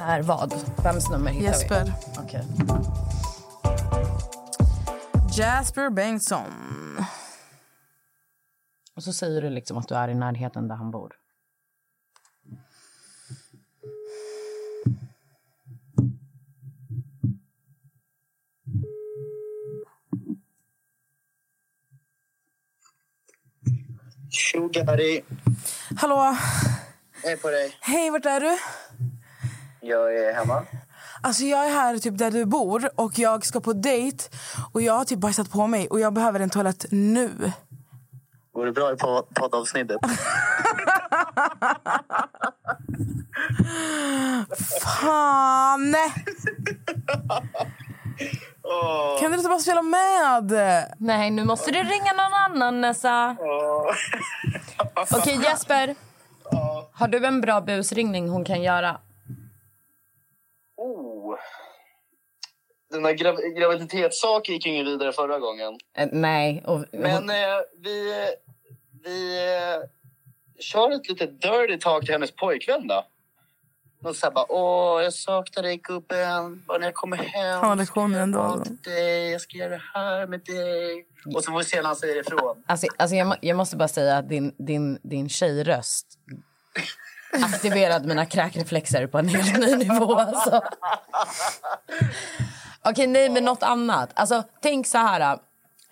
är vad? Vems nummer hittar Jesper. vi? Okej. Jasper Bengtsson. Och så säger du liksom att du är i närheten där han bor. Tjogari, Hallå. hej på dig. Hej, vart är du? Jag är hemma. Alltså jag är här typ där du bor och jag ska på dejt och jag har typ bajsat på mig och jag behöver en toalett nu. Går det bra i po- poddavsnittet? Fan! nej. Åh, Kan du inte bara spela med? Nej, nu måste du ringa någon annan, Nessa. åh. Okej, Jesper. Har du en bra busringning hon kan göra? Oh. Den där grav- graviditetssaken gick ju ingen vidare förra gången. Eh, nej. Och, Men eh, vi, vi eh, kör ett litet dirty talk till hennes pojkvän då. Något såhär bara, åh jag saknar dig gubben, bara när jag kommer hem. Han har lektioner ändå, Jag, alltså. dig. jag ska göra det här med dig. Och så får vi se när han säger ifrån. Alltså, alltså jag, må- jag måste bara säga att din, din, din tjejröst aktiverade mina kräkreflexer på en helt ny nivå. Alltså. Okej, nej, men något annat. Alltså, tänk så här.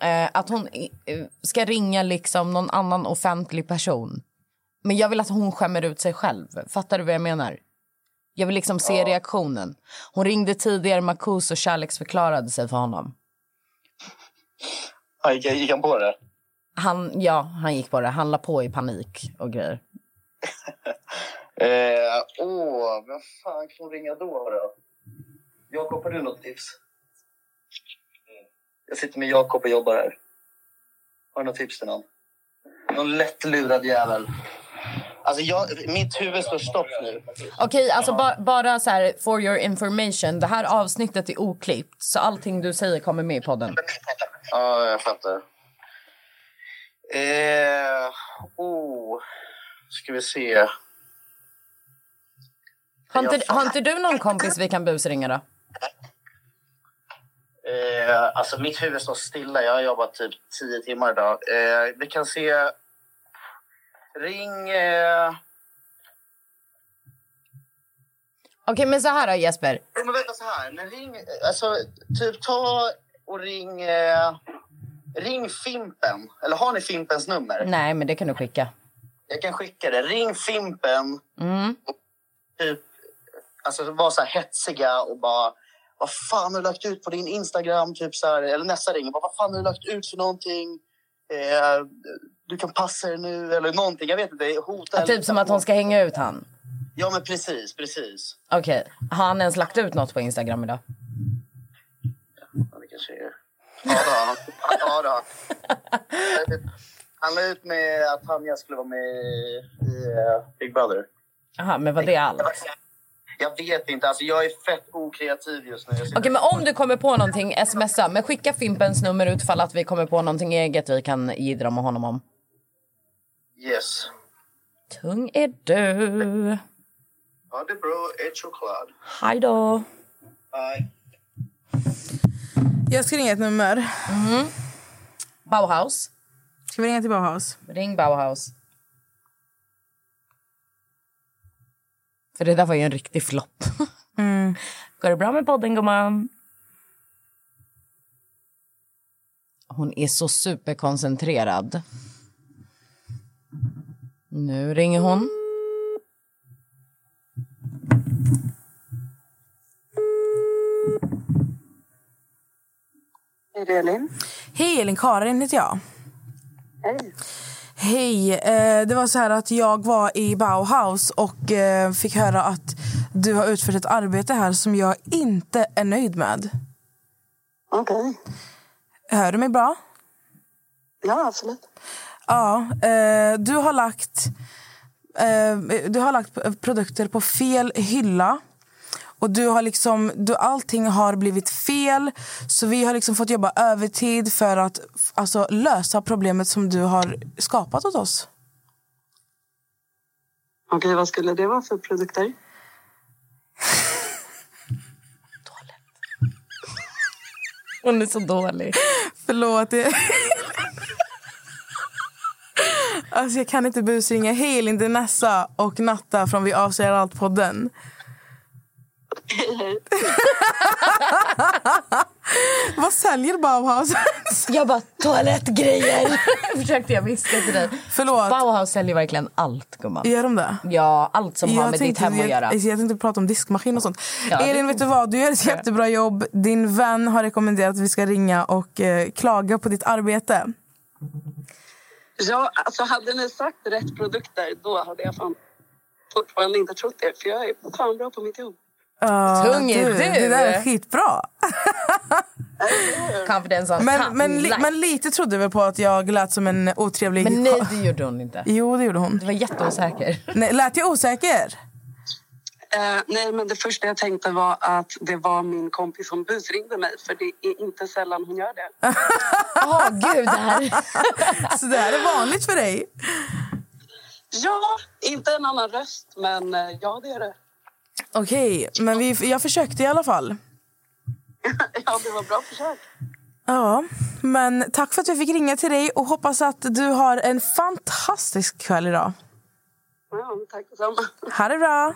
Eh, att hon i- eh, ska ringa liksom någon annan offentlig person. Men jag vill att hon skämmer ut sig själv. Fattar du vad jag menar? Jag vill liksom se reaktionen. Hon ringde tidigare Marcus och kärleksförklarade sig för honom. Ja, gick, gick han på det? Han, ja, han gick bara. Han la på i panik och grejer. Eh, åh, vem fan kan hon ringa då? då? Jakob, har du något tips? Mm. Jag sitter med Jakob och jobbar här. Har du något tips till någon? Någon lättlurad jävel. Alltså, jag, mitt huvud står stopp nu. Okej, alltså ba- bara så här for your information. Det här avsnittet är oklippt så allting du säger kommer med i podden. Ja, jag fattar. Eh, oh, ska vi se. Har inte, har inte du någon kompis vi kan busringa då? Eh, alltså mitt huvud står stilla. Jag har jobbat typ 10 timmar idag. Eh, vi kan se... Ring... Eh... Okej, men så här då Jesper. Jo, Men vänta så här. Men ring... Alltså, typ ta och ring... Eh... Ring Fimpen. Eller har ni Fimpens nummer? Nej, men det kan du skicka. Jag kan skicka det. Ring Fimpen. Mm. Typ, alltså var så här hetsiga och bara... Vad fan har du lagt ut på din Instagram? Typ så här, eller nästa ring. bara, Vad fan har du lagt ut för någonting? Eh, du kan passa dig nu. Eller någonting. Jag vet inte. Hota. Ja, eller- typ som att hon ska hänga ut han. Ja, men precis. Precis. Okej, har han ens lagt ut något på Instagram idag? Ja, det kanske är... Ja, det har han. Ja, det har han. Han la ut med att Tanja skulle vara med i eh, Big Brother. Jaha, men var det allt? Okej, Jag vet inte. Alltså, jag är fett okreativ just nu. Jag sitter- men om du kommer på någonting, smsa. Men skicka Fimpens nummer utfall att vi kommer på någonting eget vi kan jiddra med honom om. Yes. Tung är du. Ja, det är bra. Ett choklad. Hej då. Bye. Jag ska ringa ett nummer. Bauhaus. Ska vi ringa till Bauhaus? Ring Bauhaus. För det där var ju en riktig flopp. Mm. Går det bra med podden, gumman? Hon är så superkoncentrerad. Nu ringer Mm. hon. Hej, det är Elin. Hej Elin, Karin heter jag. Hej. Hej, eh, det var så här att jag var i Bauhaus och eh, fick höra att du har utfört ett arbete här som jag inte är nöjd med. Okej. Hör du mig bra? Ja, absolut. Ja, eh, du har lagt eh, du har lagt p- produkter på fel hylla. Och du har liksom, du, allting har blivit fel. Så vi har liksom fått jobba övertid för att f- alltså, lösa problemet som du har skapat åt oss. Okej, vad skulle det vara för produkter? Hon är så dålig. Förlåt. jag- alltså jag kan inte busringa. Hej Elin, det är Nessa och Natta från Vi avser allt-podden. Vad säljer Bauhaus? Jag bara, toalettgrejer! Försökte jag viska till dig. Förlåt. Bauhaus säljer verkligen allt, gumman. Gör de det? Ja, allt som har med ditt hem att jag, göra. jag tänkte Mm. prata om diskmaskin och sånt. Ja, det- Elin, vet du vad? Du gör ett jättebra jobb. Din vän har rekommenderat att vi ska ringa och eh, klaga på ditt arbete. Ja, alltså hade ni sagt rätt produkter då hade jag fan fortfarande inte trott det. För jag är fan bra på mitt jobb. Ja, Tung är du. Ah, Det där är skitbra. Confidence on top. Men, men, li, Like. men lite trodde väl på att jag lät som en otrevlig... Men nej, det gjorde hon inte. Jo, det gjorde hon. Du var jätteosäker. Nej, lät jag osäker? Eh, nej, men det första jag tänkte var att det var min kompis som busringde mig. För det är inte sällan hon gör det. Åh, gud. Det här. Så det här är vanligt för dig. Ja, inte en annan röst, men eh, ja, det är det. Okej, men vi, jag försökte i alla fall. ja, det var bra försök. Ja, men tack för att vi fick ringa till dig och hoppas att du har en fantastisk kväll idag. Ja, men tack detsamma. Ha det bra.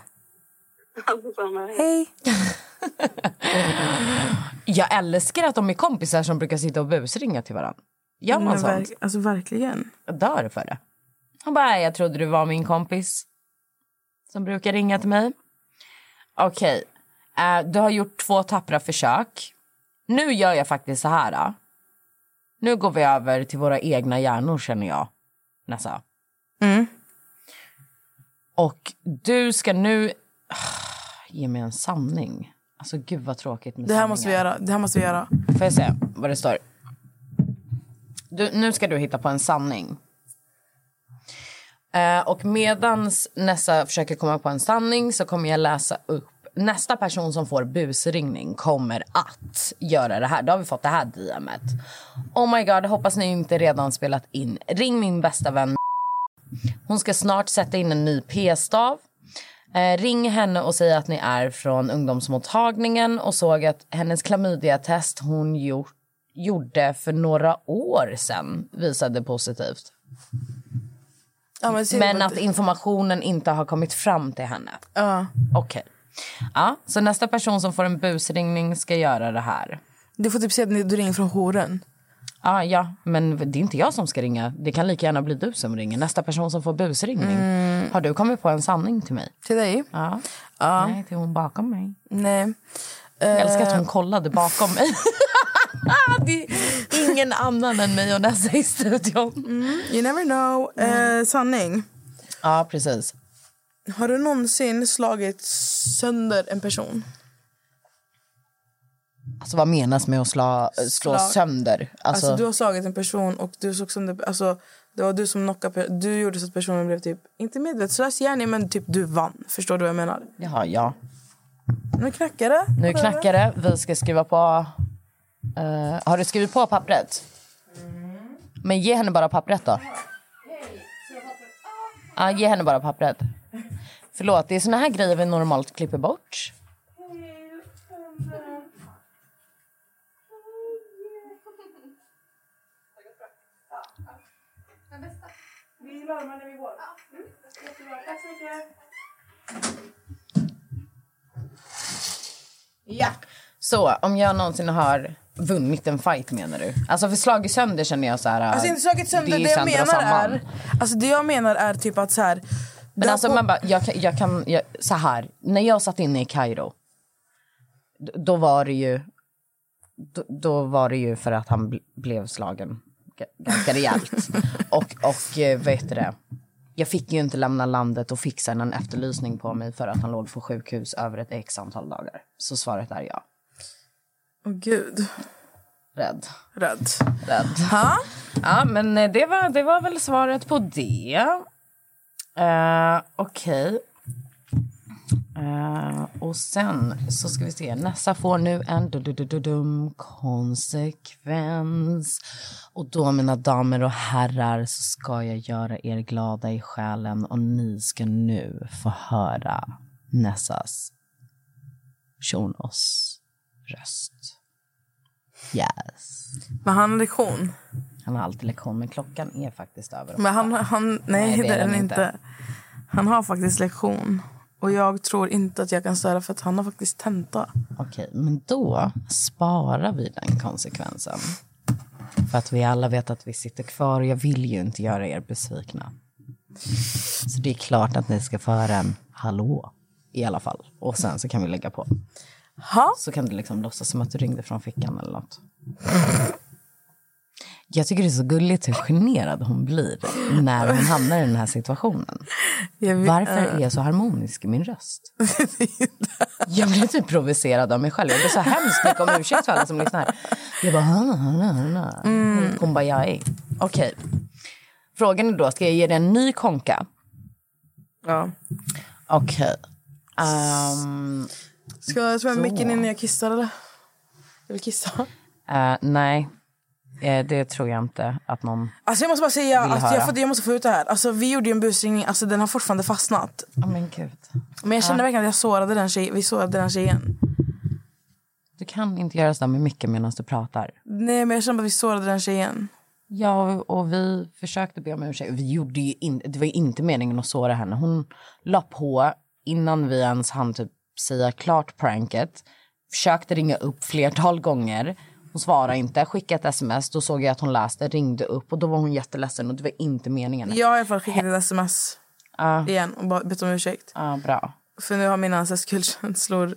detsamma. Hej. Hej. Jag älskar att de är kompisar som brukar sitta och busringa till varandra. Gör man Men sånt? verk, alltså verkligen. Jag dör för det. Han bara, "Nej, jag trodde du var min kompis som brukar ringa till mig. Okej, eh, du har gjort två tappra försök. Nu gör jag faktiskt så här. Då. Nu går vi över till våra egna hjärnor känner jag, Nessa. Mm. Och du ska nu... ah, Ge mig en sanning. Alltså gud vad tråkigt med Det här sanningar. måste vi göra. Det här måste vi göra. Får jag se vad det står? Du, nu ska du hitta på en sanning. Eh, och medans Nessa försöker komma på en sanning så kommer jag läsa upp. Nästa person som får busringning kommer att göra det här. Då har vi fått det här DMet. Oh my god, hoppas ni inte redan spelat in. Ring min bästa vän Hon ska snart sätta in en ny p-stav. Eh, ring henne och säg att ni är från ungdomsmottagningen och såg att hennes klamydiatest hon gjort, gjorde för några år sedan visade positivt. Ja, men se- Men att informationen inte har kommit fram till henne. ja. Okej. Ja, så nästa person som får en busringning ska göra det här. Du får typ se att ni- du ringer från horen. Ah, ja, men det är inte jag som ska ringa. Det kan lika gärna bli du som ringer. Nästa person som får busringning. Har du kommit på en sanning till mig? Till dig? Ja. Eh, Nej, till hon bakom mig. Nej. Jag älskar att hon kollade bakom mig. det är ingen annan än mig och Nessa i studion. You never know. Eh, sanning. Ja, precis. Har du någonsin slagit sönder en person? Alltså, vad menas med att slå, slå Slag. sönder? Alltså, Alltså, du har slagit en person och du såg sönder... Alltså, det var du som knockade... per- Du gjorde så att personen blev typ... Inte medvetslös, gärna, men typ du vann. Förstår du vad jag menar? Jaha, ja. Nu knackar det. Nu knackar det. Vi ska skriva på... Eh, har du skrivit på pappret? Men ge henne bara pappret då. Ja, ge henne bara pappret. Förlåt, det är såna här grejer vi normalt klipper bort. Ja. Så, om jag någonsin har vunnit en fight menar du? Alltså för slag sönder känner jag så här... Alltså inte slagit sönder. Det, är jag sönder och menar samman. är... Alltså det jag menar är typ att så här... Men där alltså på- man bara, jag kan, jag kan jag, så här, när jag satt inne i Kairo, d- då var det ju, då, då var det ju för att han bl- blev slagen g- ganska rejält. och, och eh, vad heter det, jag fick ju inte lämna landet och fick sen en efterlysning på mig för att han låg på sjukhus över ett x antal dagar. Så svaret är ja. Åh gud. Rädd. Rädd. Rädd. Ha? Ja, men eh, det var, det var väl svaret på det. Eh, Okej. Eh, och sen så ska vi se. Nessa får nu en du- du- du- du- dum konsekvens. Och då, mina damer och herrar, så ska jag göra er glada i själen och ni ska nu få höra Nessas Shonos röst. Yes. Men han har lektion. Han har alltid lektion, men klockan är faktiskt över. Men han, han, nej, Nej, det är den inte. Han har faktiskt lektion. Och jag tror inte att jag kan störa för att han har faktiskt tenta. Okej, men då sparar vi den konsekvensen. För att vi alla vet att vi sitter kvar och jag vill ju inte göra er besvikna. Så det är klart att ni ska få höra en hallå i alla fall. Och sen så kan vi lägga på. Ha? Så kan du liksom låtsas som att du ringde från fickan eller något. Jag tycker det är så gulligt hur generad hon blir när hon hamnar i den här situationen. Jag vet- Varför är jag så harmonisk i min röst? Jag blev typ provocerad av mig själv. Jag ber så hemskt mycket om ursäkt för alla som lyssnar. Jag bara... "Ah, ah, ah, ah." Hon bara, jag är. Okej. Frågan är då, ska jag ge dig en ny konka? Ja. Okej. Ehm, Ska jag ta med micken innan jag kissar eller? Jag vill kissa. eh, nej, Eh, det tror jag inte att någon... Alltså jag måste bara säga Vill att höra. jag, får, jag måste få ut det här. Alltså vi gjorde ju en busringning, alltså den har fortfarande fastnat. Oh, men gud. Men jag kände verkligen att jag sårade den tjejen. Vi sårade den tjejen. Du kan inte göra sådär med mycket medan du pratar. Nej men jag kände att vi sårade den tjejen. Ja, och vi försökte be om ursäkt. Vi gjorde ju in, det var ju inte meningen att såra henne. Hon la på innan vi ens hann typ säga klart pranket. Försökte ringa upp flertal gånger. Hon svarade inte, skickade ett sms. Då såg jag att hon läste, ringde upp och då var hon jätteledsen och det var inte meningen. Jag har i alla fall skickat ett sms igen och bara bett om ursäkt. Ja, bra. För nu har mina så här skuldkänslor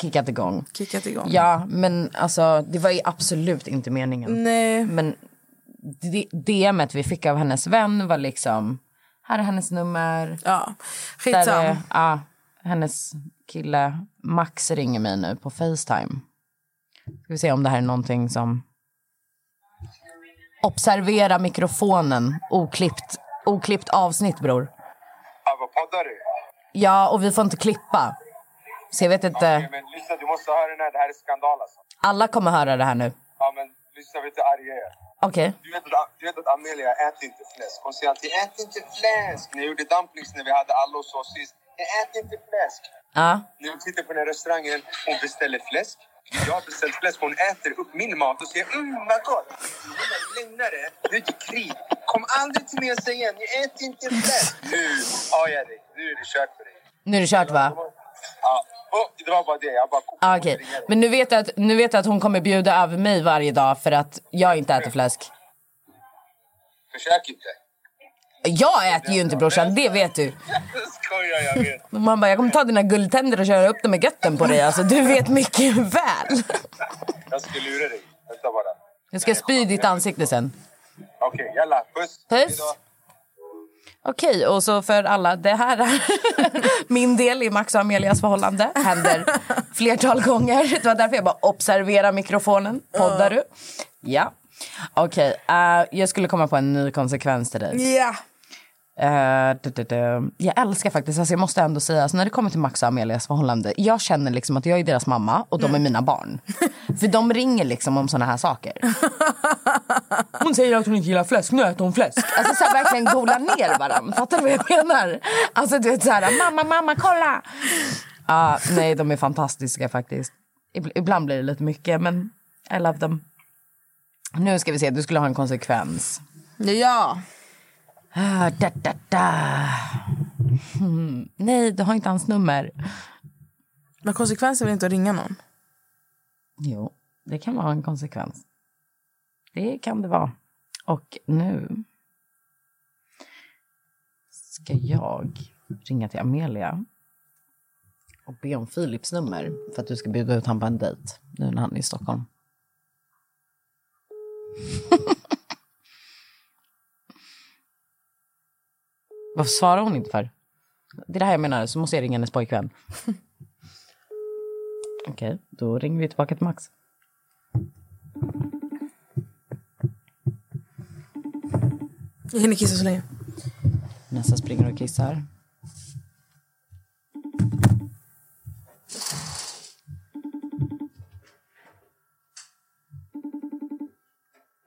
Kickat igång. kickat igång. Ja, men alltså det var ju absolut inte meningen. Mm. Nej. Men det- DMet vi fick av hennes vän var liksom... Här är hennes nummer. Ja. Där Skitsam. är, ja, hennes kille Max ringer mig nu på Facetime. Ska vi se om det här är någonting som... Observera mikrofonen. Oklippt, oklippt avsnitt, bror. Ja, vad poddar du? Ja, och vi får inte klippa. Så jag vet Ja, inte. men lyssna, du måste höra den här. Det här är skandal alltså. Alla kommer höra det här nu. Ja, men lyssna, vet du hur arg jag är? Okej. Du vet, att, du vet att Amelia, äter inte fläsk. Hon säger alltid, ät inte fläsk. När jag gjorde dumplings när vi hade alla hos oss sist. "Nej, Ät inte fläsk. Ja. När vi sitter på den här restaurangen, hon beställer fläsk. Jag har beställt fläsk. Hon äter upp min mat och säger, mm, vad gott. Jävla Lögnare, du är ett krig. Kom aldrig till mig och säg igen, jag äter inte fläsk. Nu har jag dig. Nu är det kört för dig. Nu är det kört, va? Ja, och det var bara det. Jag bara kokade. Ah, Okej, men nu vet, jag att, nu vet jag att hon kommer bjuda över mig varje dag för att jag inte äter fläsk. Försök inte. Jag äter ju inte brorsan, det vet du. Skojar, jag vet. Man bara, jag kommer ta dina guldtänder och köra upp dem i götten på dig. Alltså, du vet mycket väl. Jag ska lura dig. Vänta bara. Jag ska spy i ditt ansikte sen. Okej, jalla. Puss. Puss. Hejdå. Okej, och så för alla, det här är min del i Max och Amelias förhållande. Händer flertal gånger. Det var därför jag bara observera mikrofonen. Poddar du? Ja. Okej, eh, jag skulle komma på en ny konsekvens till dig. Ja. Eh, du, du, du. Jag älskar faktiskt, alltså jag måste ändå säga, alltså när det kommer till Max och Amelias förhållande, jag känner liksom att jag är deras mamma och de är mina barn. För de ringer liksom om såna här saker. Hon säger att hon inte gillar fläsk, nu äter hon fläsk. Alltså så här, verkligen gola ner varandra, fattar du vad jag menar? Alltså du vet så här, mamma, mamma, kolla! Ja, nej, de är fantastiska faktiskt. Ib- Ibland blir det lite mycket, men I love them. Nu ska vi se, du skulle ha en konsekvens. Ja. Ah, da, da, da. Hmm. Nej, du har inte hans nummer. Men konsekvensen vill inte att ringa någon. Jo, det kan vara en konsekvens. Det kan det vara. Och nu ska jag ringa till Amelia och be om Philips nummer för att du ska bjuda ut honom på en dejt nu när han är i Stockholm. Varför svarar hon inte för? Det är det här jag menar, så måste jag ringa hennes pojkvän. Okej, då ringer vi tillbaka till Max. Jag hinner kissa så länge. Nessa springer och kissar.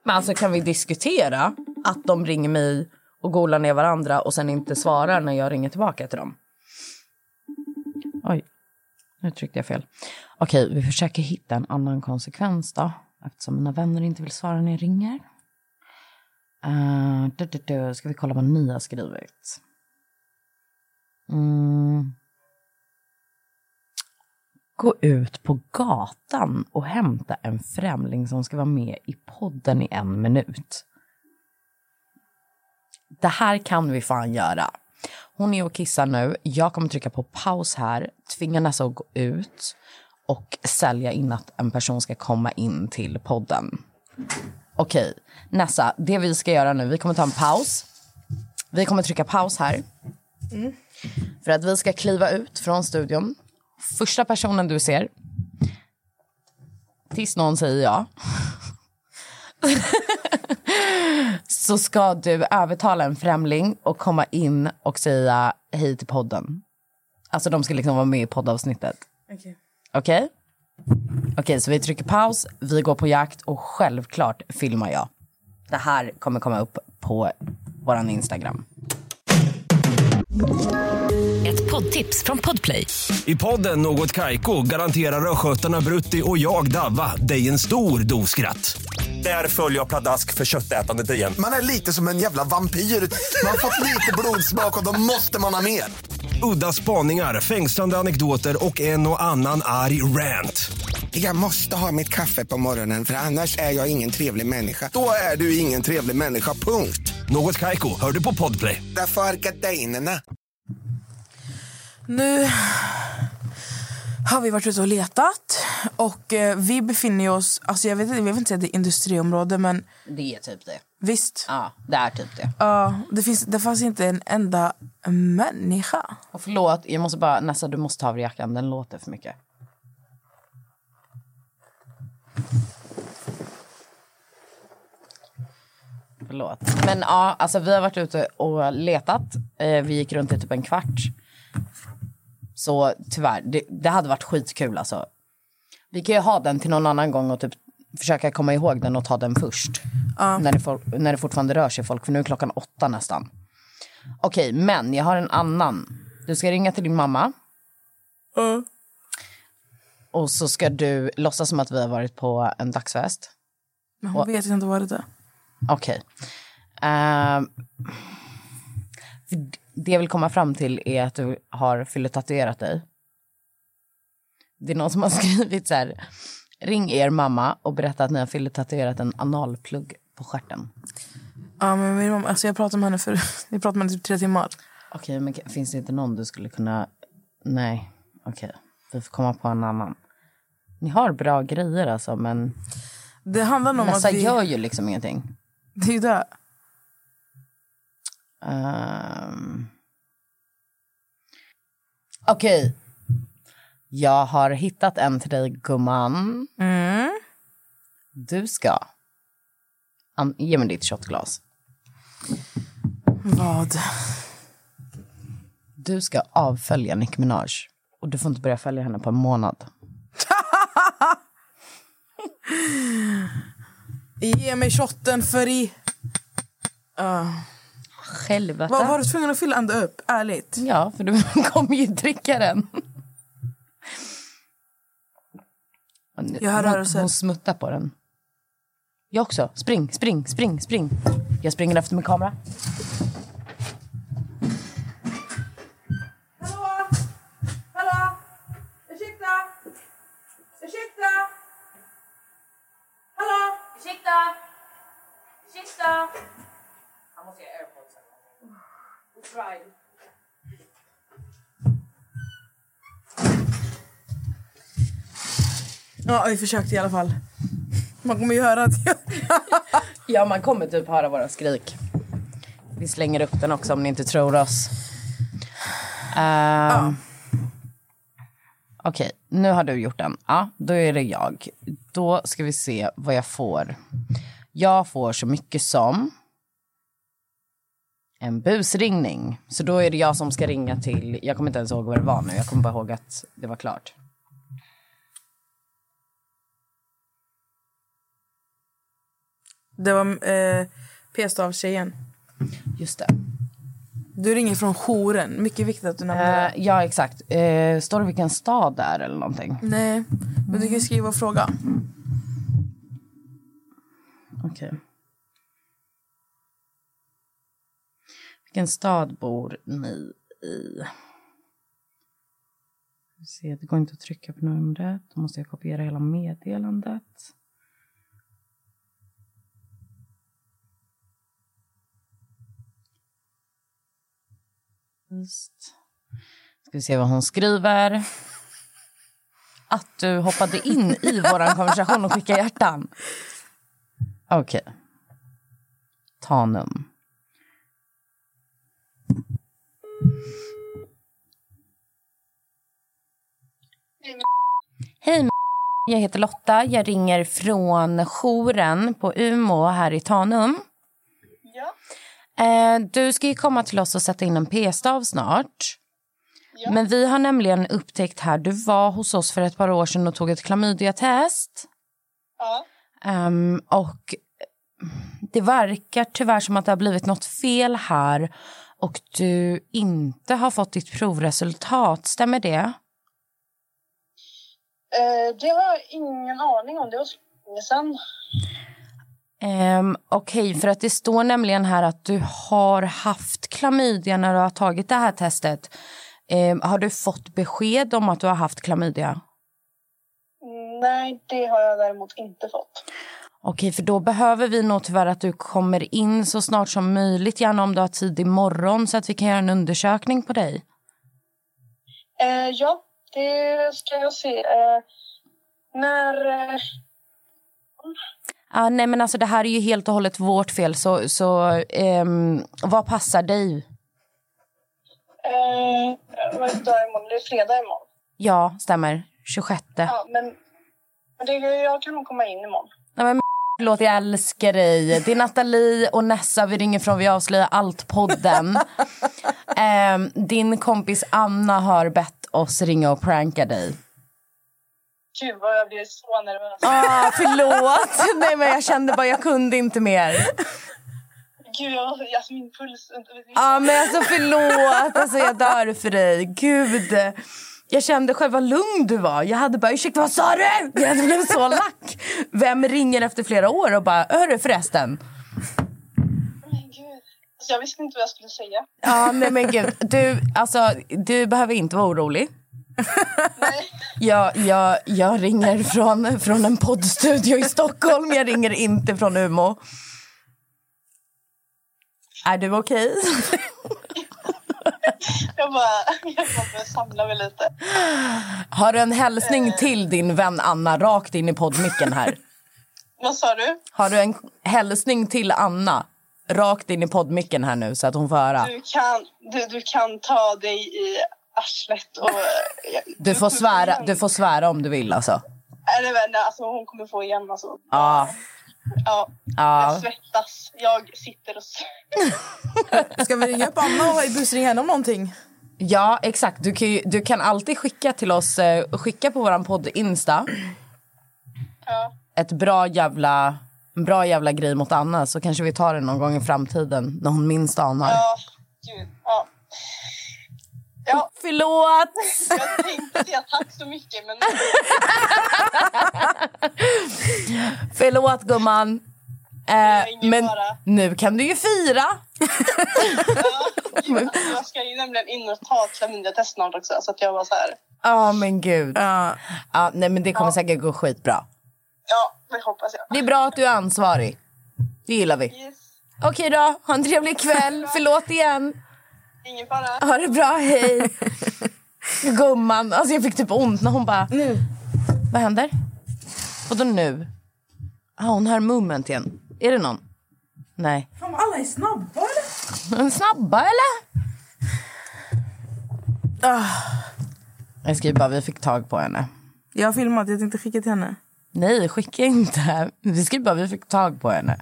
Men alltså kan vi diskutera att de ringer mig och golar ner varandra och sen inte svarar när jag ringer tillbaka till dem? Oj, nu tryckte jag fel. Okej, vi försöker hitta en annan konsekvens då. Eftersom mina vänner inte vill svara när jag ringer. Eh, du, du, du. Ska vi kolla vad ni har skrivit? Mm. Gå ut på gatan och hämta en främling som ska vara med i podden i en minut. Det här kan vi fan göra. Hon är och kissar nu. Jag kommer trycka på paus här, tvinga Nessa att gå ut och sälja in att en person ska komma in till podden. Okej, Nessa, det vi ska göra nu, vi kommer ta en paus. Vi kommer trycka paus här. För att vi ska kliva ut från studion. Första personen du ser, tills någon säger ja, så ska du övertala en främling och komma in och säga hej till podden. Alltså de ska liksom vara med i poddavsnittet. Okej. Okej? Okej, så vi trycker paus, vi går på jakt och självklart filmar jag. Det här kommer komma upp på våran Instagram. Ett poddtips från Podplay. I podden Något Kaiko garanterar östgötarna Brutti och jag, Davva, dig en stor dos skratt. Där följer jag pladask för köttätandet igen. Man är lite som en jävla vampyr. Man har fått lite blodsmak och då måste man ha mer. Udda spaningar, fängslande anekdoter och en och annan arg rant. Jag måste ha mitt kaffe på morgonen för annars är jag ingen trevlig människa. Då är du ingen trevlig människa, punkt. Något Kaiko, hör du på Podplay. Därför är gardinerna. Nu har vi varit ute och letat och eh, vi befinner oss, alltså jag vet inte, jag vill inte säga att det är industriområde men Det är typ det. visst. Ja, det är typ det. Ja, det, finns, det fanns inte en enda människa. Och förlåt, jag måste bara, Nessa du måste ta av dig jackan, den låter för mycket. Förlåt. Men ja, alltså vi har varit ute och letat. Eh, vi gick runt i typ en kvart. Så tyvärr, det, det hade varit skitkul alltså. Vi kan ju ha den till någon annan gång och typ försöka komma ihåg den och ta den först. När, det for, när det fortfarande rör sig folk, för nu är klockan åtta nästan. Okej, men jag har en annan. Du ska ringa till din mamma. Och så ska du låtsas som att vi har varit på en dagsfest. Men hon vet inte vad det är. Okej. Ehm, för det jag vill komma fram till är att du har fylletatuerat dig. Det är någon som har skrivit så här. Ring er mamma och berätta att ni har fylletatuerat en analplugg på stjärten. Ja, men min mamma, alltså jag pratade med henne för jag pratade med henne i typ tre timmar. Okej, men k- finns det inte någon du skulle kunna... Nej, okej. Vi får komma på en annan. Ni har bra grejer alltså, men Det handlar nog om Nessa att vi... gör ju liksom ingenting. Det är ju det. Ehm. Okej. Jag har hittat en till dig, gumman. Du ska... An- ge mig ditt shotglas. Vad? Du ska avfölja Nicki Minaj. Och du får inte börja följa henne på en månad. Ge mig shotten för i... Helvete. Vad, var du tvungen att fylla ända upp? Ärligt. Ja, för du kommer ju dricka den. Jag hör hon, rörelser. hon smuttar på den. Jag också. Spring, spring, spring, spring. Jag springer efter min kamera. Hallå? Hallå? Ursäkta? Ursäkta? Hallå? Ursäkta? Ursäkta? Han måste ha airpods. Och pride. Ja, vi försökte i alla fall. Man kommer ju höra att jag... Ja, man kommer typ höra våra skrik. Vi slänger upp den också om ni inte tror oss. Ehm, Okej, nu har du gjort den. Ja, då är det jag. Då ska vi se vad jag får. Jag får så mycket som en busringning. Så då är det jag som ska ringa till... Jag kommer inte ens ihåg vad det var nu. Jag kommer bara ihåg att det var klart. Det var eh, p-stavtjejen. Just det. Du ringer från jouren. Mycket viktigt att du nämner det. Eh, ja, exakt. Eh, står det vilken stad det är eller någonting? Nej, men du kan ju skriva och fråga. Okej. Vilken stad bor ni i? Vi ser, det går inte att trycka på numret. Då måste jag kopiera hela meddelandet. Just. Ska vi se vad hon skriver. Att du hoppade in i vår konversation och skickade hjärtan. Okej. Tanum. Hej, m- jag heter Lotta. Jag ringer från jouren på Umo här i Tanum. Ja. Eh, Du ska ju komma till oss och sätta in en p-stav snart. Men vi har nämligen upptäckt här, du var hos oss för ett par år sedan och tog ett klamydiatest. Ja. Ehm, och det verkar tyvärr som att det har blivit något fel här och du inte har fått ditt provresultat. Stämmer det? Eh, det har jag ingen aning om. Det var så länge sedan. Um, Okej, för att det står nämligen här att du har haft klamydia när du har tagit det här testet. Ehm, har du fått besked om att du har haft klamydia? Nej, det har jag däremot inte fått. Okej, för då behöver vi nog tyvärr att du kommer in så snart som möjligt, gärna om du har tid imorgon så att vi kan göra en undersökning på dig. Eh, ja, det ska jag se. Eh, när... Eh, Ah, nej, men alltså det här är ju helt och hållet vårt fel, så, så ehm, vad passar dig? eh, vad är det dag imorgon? Det är fredag imorgon. Ja, stämmer. 26. Ja, men, men det, jag kan nog komma in imorgon. Nej, men låt jag älskar dig. Det är Nathalie och Nessa, vi ringer från Vi avslöjar allt-podden. Ehm, din kompis Anna har bett oss ringa och pranka dig. Gud, vad jag blir så nervös. Ah, förlåt! Nej, men jag kände bara, jag kunde inte mer. Gud, jag, alltså min puls... Ja, men alltså förlåt. Alltså, jag dör för dig. Gud. Jag kände själv vad lugn du var. Jag hade bara, ursäkta vad sa du? Jag hade blivit så lack. Vem ringer efter flera år och bara, hörru förresten. Men gud. Alltså, jag visste inte vad jag skulle säga. Ja, nej men gud. Du, alltså, du behöver inte vara orolig. Jag, jag, jag ringer från, från en poddstudio i Stockholm. Jag ringer inte från Umeå. Är du okej? Jag bara, jag bara började samla mig lite. Har du en hälsning till din vän Anna rakt in i poddmicken här? Vad sa du? Har du en hälsning till Anna rakt in i poddmicken här nu så att hon får höra? Du kan, du, du kan ta dig i arslet och... eh, Du får svära, du får svära om du vill alltså. Eller vänta, alltså hon kommer få igen alltså. Ja. Ja, Ja. jag svettas. Jag sitter och... s- Ska vi ringa upp Anna och busringa henne om någonting? Ja, exakt. Du kan, ju, du kan alltid skicka till oss, eh, skicka på våran podd Insta. Ett bra jävla, en bra jävla grej mot Anna så kanske vi tar det någon gång i framtiden när hon minst anar. Ja, gud. Ja. Ja. Förlåt! Jag tänkte säga tack så mycket, men... Förlåt gumman. Eh, men nu kan du ju fira. Gud, alltså, jag ska ju nämligen in och ta klamydiatest snart också, så att jag var så här... Ja men gud. Ja. nej men det kommer säkert gå skitbra. Ja, det hoppas jag. Det är bra att du är ansvarig. Det gillar vi. Okej då, ha en trevlig kväll. Förlåt igen. Ingen fara. Ha det bra, hej. Gumman, alltså jag fick typ ont när hon bara... Nu. Vad händer? Och då nu? Ah, hon hör moment igen. Är det någon? Nej. Fan, alla är snabba eller? Men snabba eller? Ah. Jag skriver bara, vi fick tag på henne. Jag har filmat, jag tänkte skicka till henne. Nej, skicka inte. Vi skriver bara, vi fick tag på henne.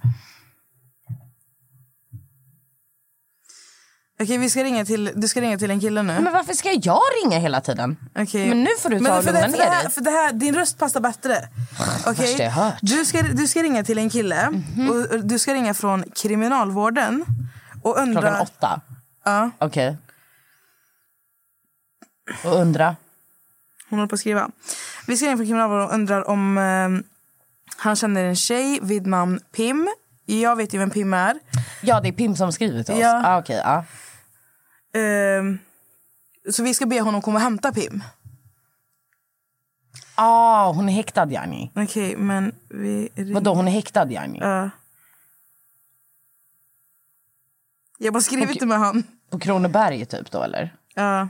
Okej, vi ska ringa till, du ska ringa till en kille nu. Men varför ska jag ringa hela tiden? Okej. Men nu får du ta Men och för lugna det, ner för det här, dig. för det här, Din röst passar bättre. Okej. Värsta jag hört. Mhm. Du, ska, du ska ringa till en kille. och, och du ska ringa från kriminalvården. Och undra... Klockan åtta? Ja. Okej. Och undra? Hon håller på att skriva. Vi ska ringa från kriminalvården och undrar om eh, Han känner en tjej vid namn Pim. Jag vet ju vem Pim är. Ja, det är Pim som skriver till oss. Ja. Ah, okej, ja. Ehm, så vi ska be honom komma och hämta Pim. Ah, hon är häktad, yani. Okej, men vi... Vadå, hon är häktad, yani? Ja. Jag bara skriver inte med han. På Kronoberg, typ, då, eller? Ja.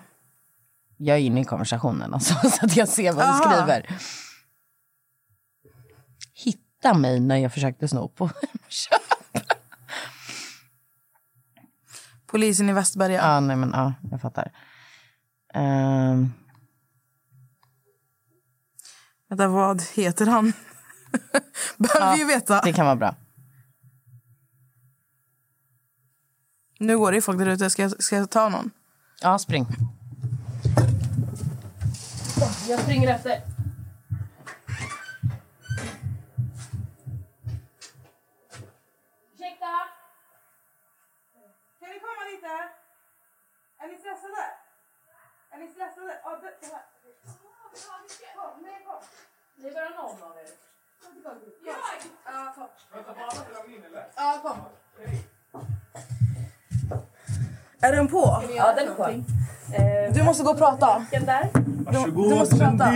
Jag är inne i konversationen, alltså, så att jag ser vad du Aha. skriver. Hitta mig när jag försökte sno på Polisen i Västberga. Ja, nej men ja, jag fattar. Ehm, Vänta, vad heter han? Behöver vi ju veta. det kan vara bra. Nu går det ju folk där ute. Ska, jag- ska jag ta någon? Ja, spring. Jag springer efter. Ursäkta? Kan ni komma lite? Är ni stressade? Är ni stressade? Ja, det, det här. Kom, nej kom. Det är bara någon av er. Jag? Ja, kom. Ja, kom. Är den på? Ja, den är på. Du måste gå och prata. Den där? Du måste prata.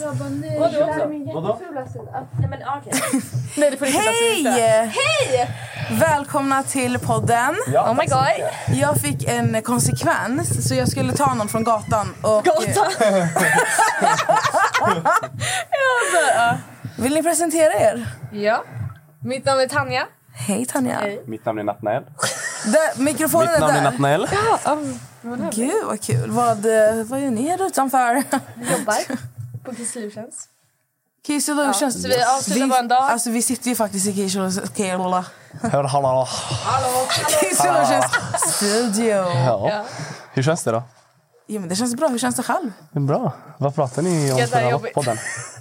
Jag bara nej. Vadå? det här är min Vadå? jättefula sida. Nej men okej. Nej, det får ni inte säga. Hej! Hej! Välkomna till podden. Ja, Oh my tack så God. Jag fick en konsekvens, så jag skulle ta någon från gatan. Och Gatan? Vill ni presentera er? Ja. Mitt namn är Tanja. Hej, Tanja. Mitt namn är Nathnael. Där, mikrofonen Mitt namn är där. Nathanael. Ja, här Gud, vad kul. Vad, eh, vad gör ni här utanför? Jobbar på Kisslutions. Key Solutions. Ja, så vi avslutar bara en dag. Alltså, vi sitter ju faktiskt i Key Solutions. Okej, Lola. Hör hallå. Hallå! Key Solutions studio. Ja. Hur känns det då? Jo, men det känns bra. Hur känns det själv? Det är bra. Vad pratar ni om Ja, det här är förra jobbigt. podden?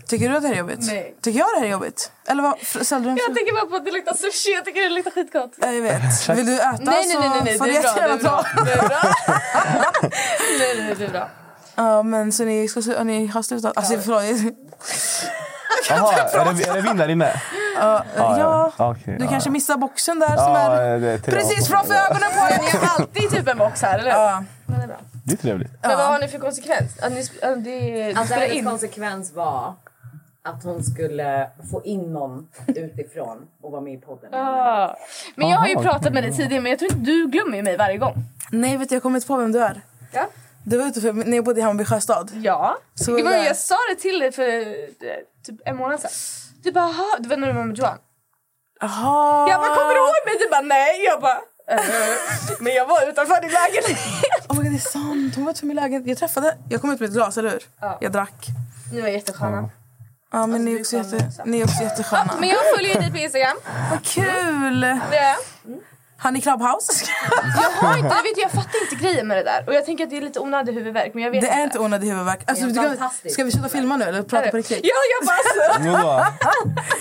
Tycker du att det här är jobbigt? Nej. Tycker jag det här är jobbigt? Eller vad? fr- Ställde du en Jag tänker bara på att det luktar sushi. Jag tycker det luktar skitgott. Jag vet. Vill du äta Nej, nej, så nej, nej, nej. får Det är du bra. Det är jättegärna bra. ta. Det är bra. nej, nej, det är bra. Ja, men så ni, ska, slu- ni har slutat? Alltså, förlåt. Jaha, är det, är det vindar inne? Ja, Ja, ja. ja. Okej, Du ja, kanske ja. missar boxen där som Ja, är det är trevligt. precis framför ögonen på er. Ni har alltid typ en box här, eller hur? Ja. Men det är bra. Det är trevligt. Men vad har ni för konsekvens? Att ni, sp- att det, det Alltså spelar hennes in. konsekvens var att hon skulle få in någon utifrån och vara med i podden. Ah. Men jag har ju Aha, pratat okej, med dig tidigare men jag tror inte du glömmer ju mig varje gång. Nej, vet du, jag har kommit på vem du är. Ja. Du var ute för, när jag bodde i Hammarby sjöstad. Ja. Så det var, där. jag sa det till dig för eh, typ en månad sedan. Du bara, "Aha." det var när du var med Johan. Aha. Jag bara, kommer du ihåg mig? Du bara, nej. Jag bara, "Eh." men jag var utanför din lägenhet. Oh my God, det är sant. Hon var till min lägenhet. Jag träffade... Jag kom ut med ett glas, eller hur? Ja. Jag drack. Ni var jättesköna. Alltså, Ja, men ni, är också jätte, ni är också jättesköna. Men jag följer ju dig på Instagram. Vad kul! Det är jag. Han i Clubhouse. Jag har inte, jag, vet, jag fattar inte grejen med det där. Och jag tänker att det är lite onödig huvudvärk men jag vet Det inte. är inte onödig huvudvärk. Alltså, Det är du kan, fantastiskt. ska vi sluta filma nu eller prata på riktigt? Ja, jag bara Jo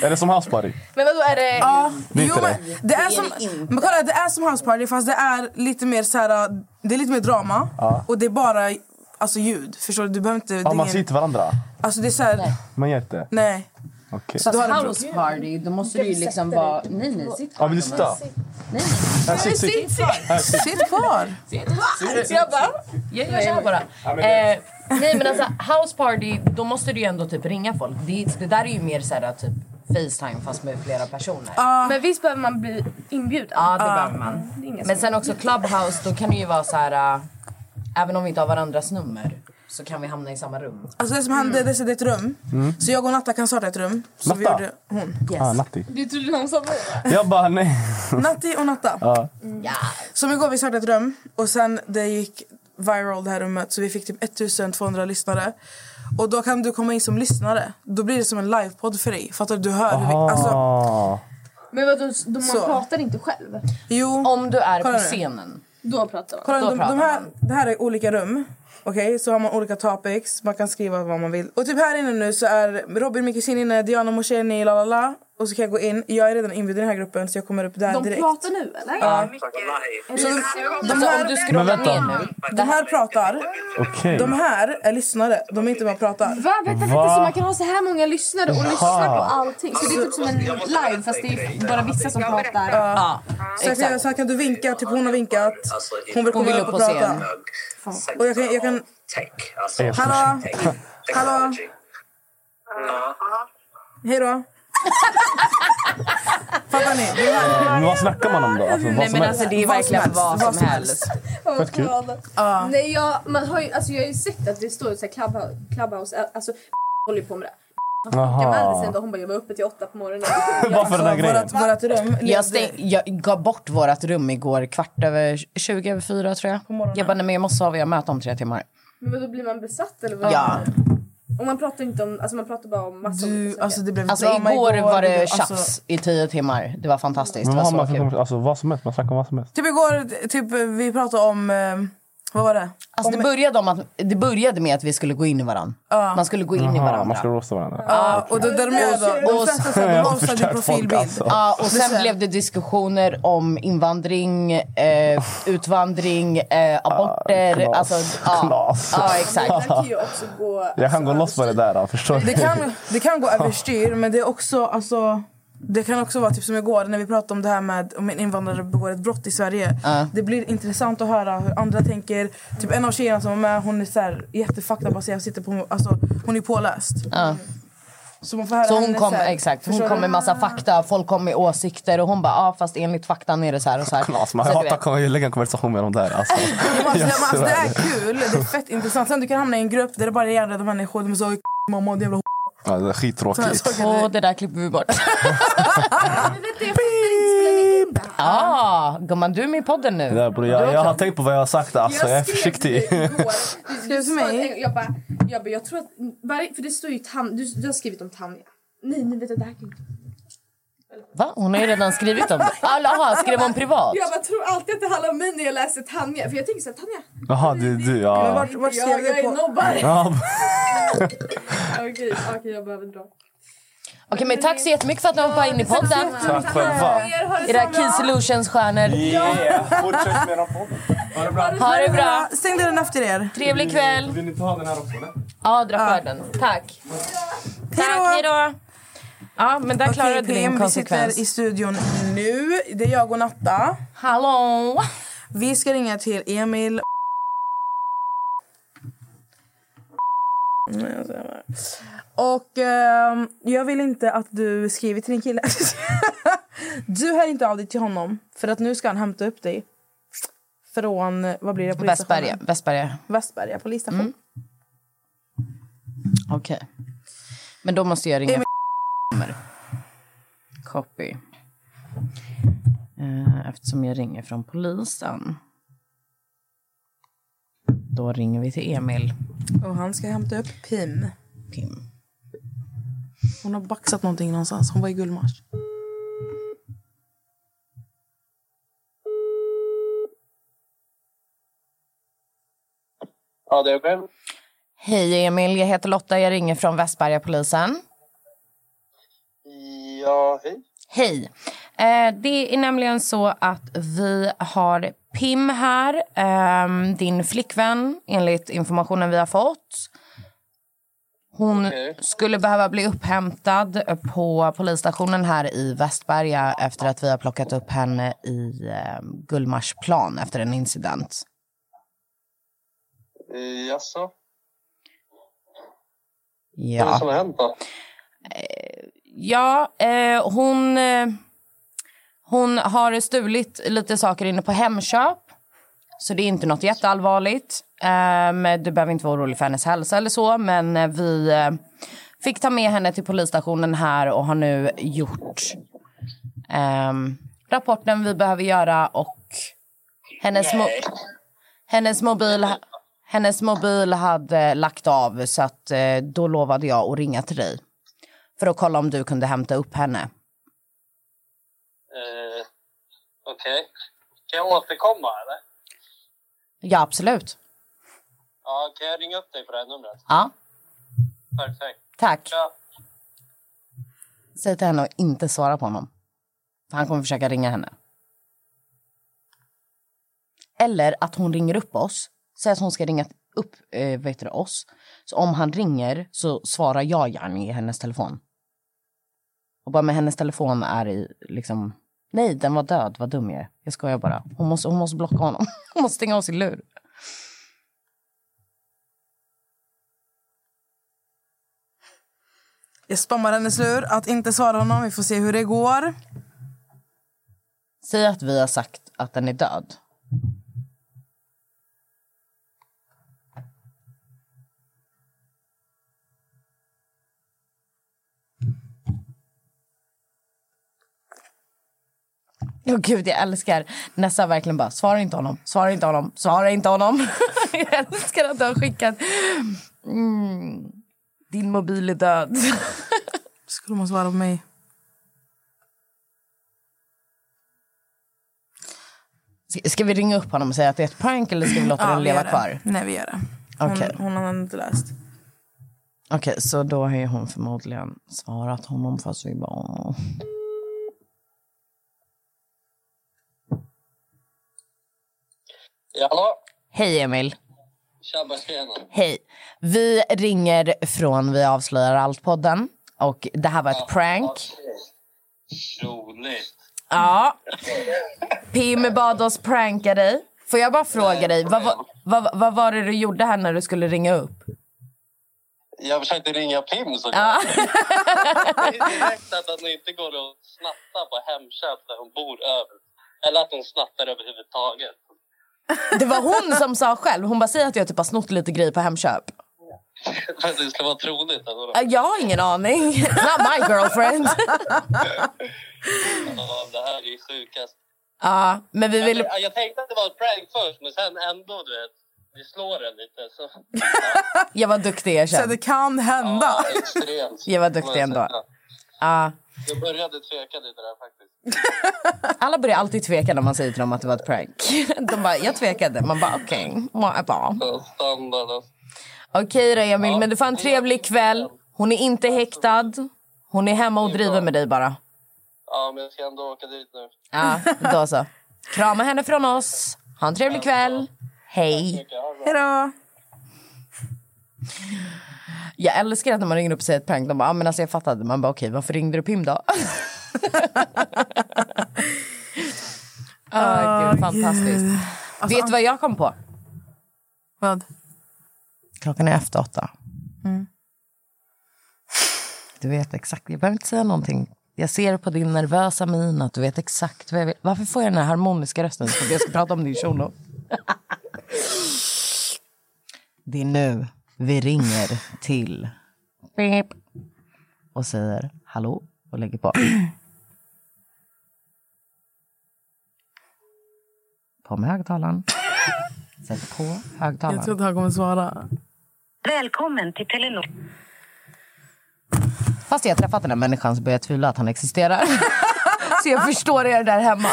då. Är det som houseparty? Men vadå är det? Ja. Det är Jo, inte men det. det är som, men kolla, det är som House Party fast det är lite mer så här, det är lite mer drama Ja. och det är bara alltså, ljud. Förstår du? Du behöver inte... det Ah, man är ingen- ser inte varandra. Alltså det är så här, Man gör inte. nej. Okej. Så du har en- House party, då måste du ju liksom vara... Nej, nej, sitt Ja, vill du sitta? Här, sitt, sitt. Här, sitt. Sitt kvar. Jag bara... Jag gör så här bara. Ja, men det- Eh, nej, men alltså house party, då måste du ju ändå typ ringa folk. Det, det där är ju mer så här typ Facetime fast med flera personer. Men visst behöver man bli inbjuden? Ja, det behöver man. Det är inga Men som- sen också Clubhouse, då kan det ju vara så här... äh, även om vi inte har varandras nummer så kan vi hamna i samma rum. Alltså det som hände, det är ett rum. Mm. Så jag och Natta kan starta ett rum. Så vi Natta? gjorde hon. Ah, Natti. Du trodde någon sa mig? Jag bara nej. Natti och Natta. Ja. Som igår vi startade ett rum och sen det gick viral det här rummet så vi fick typ 1200 lyssnare. Och då kan du komma in som lyssnare. Då blir det som en livepodd för dig. Fattar du? Du hör hur vi... Aha. Alltså, Men vadå, s- de Så. man pratar inte själv? jo. Om du är Kolla på nu. scenen. Då pratar man. Kolla, Då de, pratar de här, det här är olika rum. Okej, så har man olika topics. Man kan skriva vad man vill. Och typ här inne nu så är Robin Mikkelsin inne, Diana Mosheni, la la la. Och så kan jag gå in. Jag är redan inbjuden i den här gruppen så jag kommer upp där De direkt. pratar nu eller? Ja. Är Så det de Alltså, så? här, Om du scrollar Men vänta. ner De här pratar. Okej. De här är lyssnare. De är inte med och pratar. Va? Vänta, vänta, Va? så man kan ha så här många lyssnare och Jaha. lyssna på allting. Så det är typ som en live fast det är bara vissa som pratar. Ja. Så, jag kan, Exakt. så här kan du vinka, typ hon har vinkat. Hon vill komma Hon vill upp upp och på prata. scen. Och jag kan... Jag kan... Alltså, Hallå? Hallå? Hej då. Fattar ni? Det här- Men vad snackar man om då? Alltså, vad Nej, som men helst? alltså, det är verkligen vad som helst. Fett kul. Ja. Nej, jag, man har ju, alltså, jag har ju sett att det står så här clubhouse, clubhouse alltså håller ju på med det. Jag Jaha. vände sig ändå, hon bara jag var uppe till åtta på morgonen. Varför den här grejen? Vårat rum Jag, stäng, jag gav bort vårt rum igår kvart över 20 över fyra tror jag. Jag bara, nej, men jag måste sova, jag har möte om tre timmar. Men vadå, blir man besatt eller vad? Ja. Och man pratar inte om, alltså man pratar bara om massor olika saker. Alltså det blev Alltså drama igår var det blev- tjafs alltså- i tio timmar. Det var fantastiskt. Men det vad var har så man för kul. konversation? Alltså vad som helst, man snackar om vad som helst. Typ igår, typ, vi pratade om... eh, Vad var det? Alltså det, började om att, det började med att vi skulle gå in i varandra. Ja. Man skulle gå in i Jaha, varandra. Man ska roasta varandra. Ja, och då, där de gör då, de flesta så här, Jag de har postar din förstört folk, profilbild. alltså. Ja, och Men sen blev det diskussioner om invandring, eh, utvandring, eh, aborter. knas. alltså, ja. Knas. ja, Det exakt. kan ju också gå... Jag kan gå loss på det där. då, Förstår Det du? kan, det kan gå överstyr, men det är också... Alltså, det kan också vara typ som igår när vi pratade om det här med om en invandrare begår ett brott i Sverige. Ja. Det blir intressant att höra hur andra tänker. Typ en av tjejerna som var med, hon är så här jättefaktabaserad. Sitter på, alltså, hon är påläst. Ja. Så man får höra Så hon henne kom, så här, exakt, hon förstår kom du? med massa fakta, folk kom med åsikter och hon bara ah, fast enligt faktan är det så här och så här. Knas, man Så du hatar vet. att lägga en konversation med dem där. Alltså. Men Alltså, Jag men alltså, det svär. är kul, det är fett intressant. Sen du kan hamna i en grupp där det bara är jävla människor. De är så mamma, det är jävla Ja, det är skittråkigt. Och det där klipper vi bort. Men vänta, jag fattar inte. Spelar ni in det här? ah, gumman du är med i podden nu. Det där, bror, Du jag, också. jag har tänkt på vad jag har sagt. Alltså. Jag är skrev försiktig. till dig igår. Du- du Skrev till sa- mig? Jag bara, jag bara, jag tror att... varje- För det står ju Tanja. Du, du har skrivit om Tanja. Nej, nej, vet du, det här kan inte... Va? Hon har ju redan skrivit om det. Alla skrev hon privat? Jag bara, tror alltid att det handlar om mig när jag läser Tanja. För jag tänker så här, Tanja, Jaha, det är du. Men Ja. vart, vart jag, skrev jag du är på? nobbare. Ja. Okej, okej, jag behöver dra. Okej men tack så jättemycket för att ni hoppade in i podden. Tack själva. Era Key Solutions stjärnor. Yeah, fortsätt med den podden. Ha det bra. Ha det bra. Stäng dörren efter er. Trevlig kväll. Vill ni ta den här också? Eller? Ja, dra för den. Tack. Tack, hej då. Ja, men där klarade du din vi sitter i konsekvens. studion nu. Det är jag och Natta. Hallå! Vi ska ringa till Emil. Nej, Mm, jag skojar bara. Och ehm, jag vill inte att du skriver till din kille. du hör inte av dig till honom, för att nu ska han hämta upp dig. Från, vad blir det? polisstationen? Västberga. Mm. Västberga. Västberga polisstation. Okej. Men då måste jag ringa Emil. nummer. Copy. Eh, Eftersom jag ringer från polisen. Då ringer vi till Emil. Och han ska hämta upp Pim. Pim. Hon har baxat någonting någonstans. Hon var i Gullmars. Ja, det är själv. Hej Emil, jag heter Lotta. Jag ringer från Västberga polisen. Ja, hej. Hej. Eh, det är nämligen så att vi har Pim här, ehm, din flickvän, enligt informationen vi har fått. Hon skulle behöva bli upphämtad på polisstationen här i Västberga efter att vi har plockat upp henne i eh, Gullmarsplan efter en incident. Eh, Jaså? Vad är det som har Ja, hänt då? ja eh, hon, eh, hon har stulit lite saker inne på Hemköp. Så det är inte något jätteallvarligt. Um, du behöver inte vara orolig för hennes hälsa eller så. Men eh, vi eh, fick ta med henne till polisstationen här och har nu gjort ehm, rapporten vi behöver göra och hennes, mo- hennes mobil hennes mobil hade lagt av så att eh, då lovade jag att ringa till dig för att kolla om du kunde hämta upp henne. Eh, Okej. Kan jag återkomma eller? Ja, absolut. Ja, kan jag ringa upp dig på det här numret? Ja, Perfekt. tack. Ja. Säg till henne att inte svara på honom. För han kommer försöka ringa henne. Eller att hon ringer upp oss. Säg att hon ska ringa upp eh, vet du, oss. Så om han ringer så svarar jag gärna i hennes telefon. Och bara med hennes telefon är i liksom... Nej, den var död. Vad dum jag är. Jag skojar bara. Hon måste, hon måste blocka honom. Hon måste stänga av sin lur. Jag spammar hennes lur att inte svara honom. Vi får se hur det går. Säg att vi har sagt att den är död. Åh gud, jag älskar Nessa verkligen bara, svara inte honom, svara inte honom, svara inte honom. jag älskar att du har skickat. Mm. Din mobil är död. Skulle man svara på mig? S- Ska vi ringa upp honom och säga att det är ett prank eller ska vi låta den vi leva gör det. kvar? Nej, vi gör det. Hon, Okej, hon har inte läst. Okej, så då har ju hon förmodligen svarat honom fast vi bara... Ja, hallå? Hej Emil! Tjabba tjena. Hej. Vi ringer från Vi avslöjar allt-podden. Och det här var ett prank. Roligt. Ja. Pim bad oss pranka dig. Får jag bara fråga dig, vad, var- vad, vad var det du gjorde här när du skulle ringa upp? Jag försökte ringa Pim så Ja. Det är direkt att han inte går och snattar på Hemköp där hon bor över. Eller att hon snattar överhuvudtaget. Det var hon som sa själv. Hon bara säger att jag typ har snott lite grejer på Hemköp. För att det skulle vara troligt. Alltså. Äh, Jag har ingen aning. It's not my girlfriend. Ja, det här är ju sjukast. Ja, men vi vill... Jag, jag tänkte att det var ett prank först, men sen ändå, du vet. Vi slår en lite. Så. Jag var duktig, Så erkänn. det kan Ja, hända. extremt. Jag var duktig ändå. Ja. Jag började tveka lite där faktiskt. Alla börjar alltid tveka när man säger till dem att det var ett prank. De bara, jag tvekade. Man bara, okej. Okay. Standard alltså. Okej då Emil, men du får ha en trevlig kväll. Hon är inte häktad. Hon är hemma och driver med dig bara. Ja, men jag ska ändå åka dit nu. Ja, då så. Krama henne från oss. Ha en trevlig kväll. Hej. Hej då. Jag älskar att när man ringer upp och säger ett prank, de bara, ah, men alltså jag fattade. Man bara, okej, varför ringde du Pim då? Ah, gud, Alltså, fantastiskt. Vet du vad jag kom på? Vad? Klockan är efter åtta. Mm. Du vet exakt, jag behöver inte säga någonting. Jag ser på din nervösa min att du vet exakt vad jag vill. Varför får jag den här harmoniska rösten? För att jag ska prata om din kjol Det är nu vi ringer till Beep. och säger hallå och lägger på. På med högtalaren. Sätt på högtalaren. Jag tror inte han kommer svara. Välkommen till Telenor. Fast jag har träffat den här människan så börjar jag tvivla att han existerar. så jag förstår er där hemma.